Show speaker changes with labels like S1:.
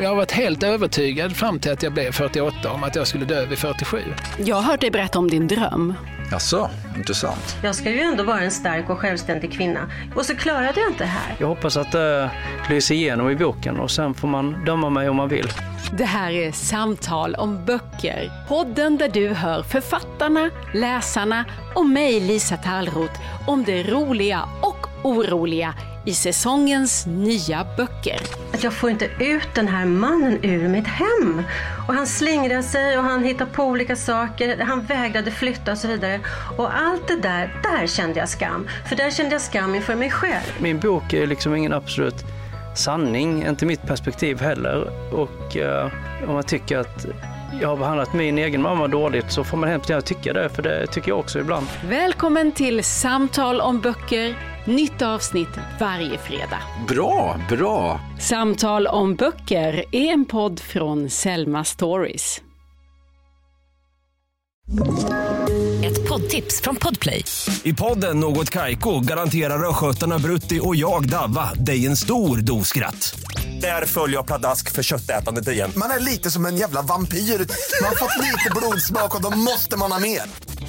S1: Jag har varit helt övertygad fram till att jag blev 48 om att jag skulle dö vid 47.
S2: Jag har hört dig berätta om din dröm.
S3: Jaså, intressant.
S4: Jag ska ju ändå vara en stark och självständig kvinna. Och så klarade jag inte det här.
S5: Jag hoppas att det lyser igenom i boken och sen får man döma mig om man vill.
S6: Det här är Samtal om böcker. Podden där du hör författarna, läsarna och mig, Lisa Tallroth, om det roliga och oroliga i säsongens nya böcker.
S4: Att jag får inte ut den här mannen ur mitt hem. Och han slingrar sig och han hittar på olika saker. Han vägrade flytta och så vidare. Och allt det där, där kände jag skam. För där kände jag skam inför mig själv.
S5: Min bok är liksom ingen absolut sanning, inte mitt perspektiv heller. Och eh, om man tycker att jag har behandlat min egen mamma dåligt så får man hemskt gärna tycka det, för det tycker jag också ibland.
S6: Välkommen till Samtal om böcker. Nytt avsnitt varje fredag.
S3: Bra, bra.
S6: Samtal om böcker är en podd från Selma Stories.
S7: Ett poddtips från Podplay.
S8: I podden Något Kaiko garanterar östgötarna Brutti och jag, Davva, dig en stor dos skratt. Där följer jag pladask för köttätandet igen.
S9: Man är lite som en jävla vampyr. Man har fått lite blodsmak och då måste man ha mer.